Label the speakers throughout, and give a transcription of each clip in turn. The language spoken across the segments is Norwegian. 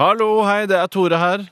Speaker 1: Hallo, hei, det er Tore her.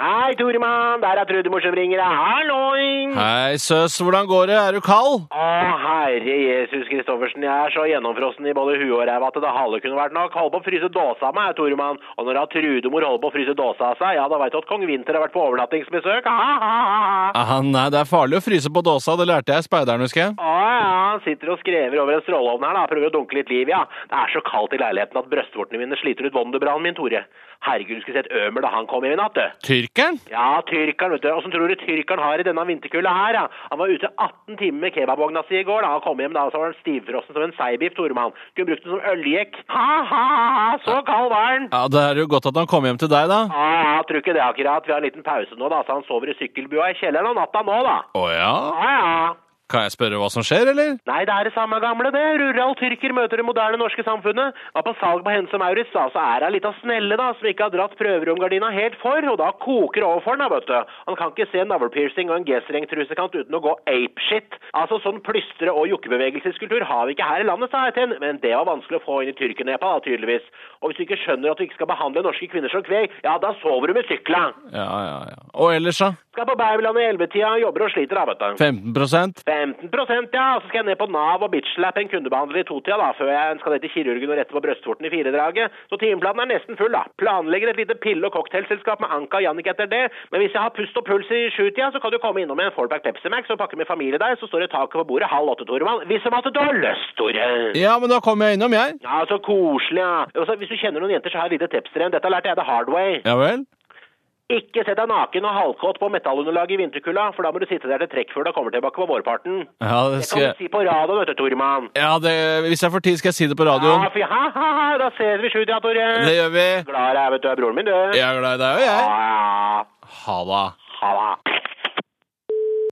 Speaker 2: Hei, Toremann. Der er Trudemor som ringer deg. Halloi!
Speaker 1: Hei, søs, hvordan går det? Er du kald?
Speaker 2: Å, herre Jesus Kristoffersen, jeg er så gjennomfrossen i både huet og ræva at det halve kunne vært nok. Holder på å fryse dåsa av meg, Toremann. Og når da Trudemor holder på å fryse dåsa av seg, ja, da veit du at kong Vinter har vært på overnattingsbesøk. Ha, ha, ha.
Speaker 1: Ah, nei, det er farlig å fryse på dåsa, det lærte jeg i speideren, husker jeg.
Speaker 2: Å ja, han sitter og skrever over en stråleovn her, da. Prøver å dunke litt liv, ja. Det er så kaldt i leiligheten at brøstvortene mine sliter ut wonderbrannen min, Tore. Herregud, du skulle sett Ømer da han kom hjem i natt, du.
Speaker 1: Tyrkeren?
Speaker 2: Ja, tyrkeren, vet du. Åssen tror du tyrkeren har i denne vinterkulda her, ja? Han var ute 18 timer med kebabvogna si i går, da. Han kom hjem da, og så var han stivfrossen som en seibiff, Toremann. Kunne brukt den som øljekk. Ha, ha, ha, så kald var han!
Speaker 1: Ja, det er jo godt at han kom hjem til deg, da.
Speaker 2: Ja, ja, tror ikke det akkurat. Vi har en liten pause nå, da, så han sover i sykkelbua i kjelleren om natta nå, da.
Speaker 1: Å ja?
Speaker 2: Ja, ja.
Speaker 1: Kan jeg spørre hva som skjer, eller?
Speaker 2: Nei, det er det samme gamle, det. Rural tyrker møter det moderne norske samfunnet. Var på salg på Hense Maurits, da, så er det en lita snelle, da, som ikke har dratt prøveromgardina helt for, og da koker det over for den, da, vet du. Han kan ikke se en navlepiercing og en G-streng-trusekant uten å gå apeshit. Altså, sånn plystre- og jukkebevegelseskultur har vi ikke her i landet, sa jeg til han, men det var vanskelig å få inn i Tyrkenepa, da, tydeligvis. Og hvis du ikke skjønner at du ikke skal behandle norske kvinner som kveg, ja, da sover du med sykla.
Speaker 1: Ja, ja, ja. Og ellers, da?
Speaker 2: Skal på Beibelandet i elvetida, jobber og sliter, da, vet du.
Speaker 1: 15
Speaker 2: 15 ja. Og så skal jeg ned på Nav og bitchlappe en kundebehandler i totida, da, før jeg skal ned til kirurgen og rette på brystvorten i firedraget. Så timeplanen er nesten full, da. Planlegger et lite pille- og cocktailselskap med Anka og Jannik etter det. Men hvis jeg har pust og puls i sjutida, så kan du komme innom med en Fallback Pepsi Max og en pakke med familie der, så står det taket på bordet halv åtte, Toremann. Hvis som at du har lyst, Tore.
Speaker 1: Ja, men da kommer jeg innom, jeg.
Speaker 2: Ja, så koselig, ja. Og så, hvis du kjenner noen jenter, så har jeg et lite tips til dem. Dette lærte jeg the hard way.
Speaker 1: Ja vel?
Speaker 2: Ikke sett deg naken og halvkåt på metallunderlaget i vinterkulda, for da må du sitte der til trekkfugla kommer tilbake på vårparten.
Speaker 1: Ja, det
Speaker 2: Det
Speaker 1: skal
Speaker 2: kan du
Speaker 1: jeg
Speaker 2: si på radioen, vet du, Toremann.
Speaker 1: Ja, det, hvis jeg får tid, skal jeg si det på radioen.
Speaker 2: Ja, fy, ha, ha, ha, da ses vi sjutida, Tore.
Speaker 1: Det gjør vi.
Speaker 2: Glad i deg, vet du. er Broren min, du.
Speaker 1: Jeg er glad i deg, og jeg.
Speaker 2: Ja,
Speaker 1: Ha det.
Speaker 2: Ha det.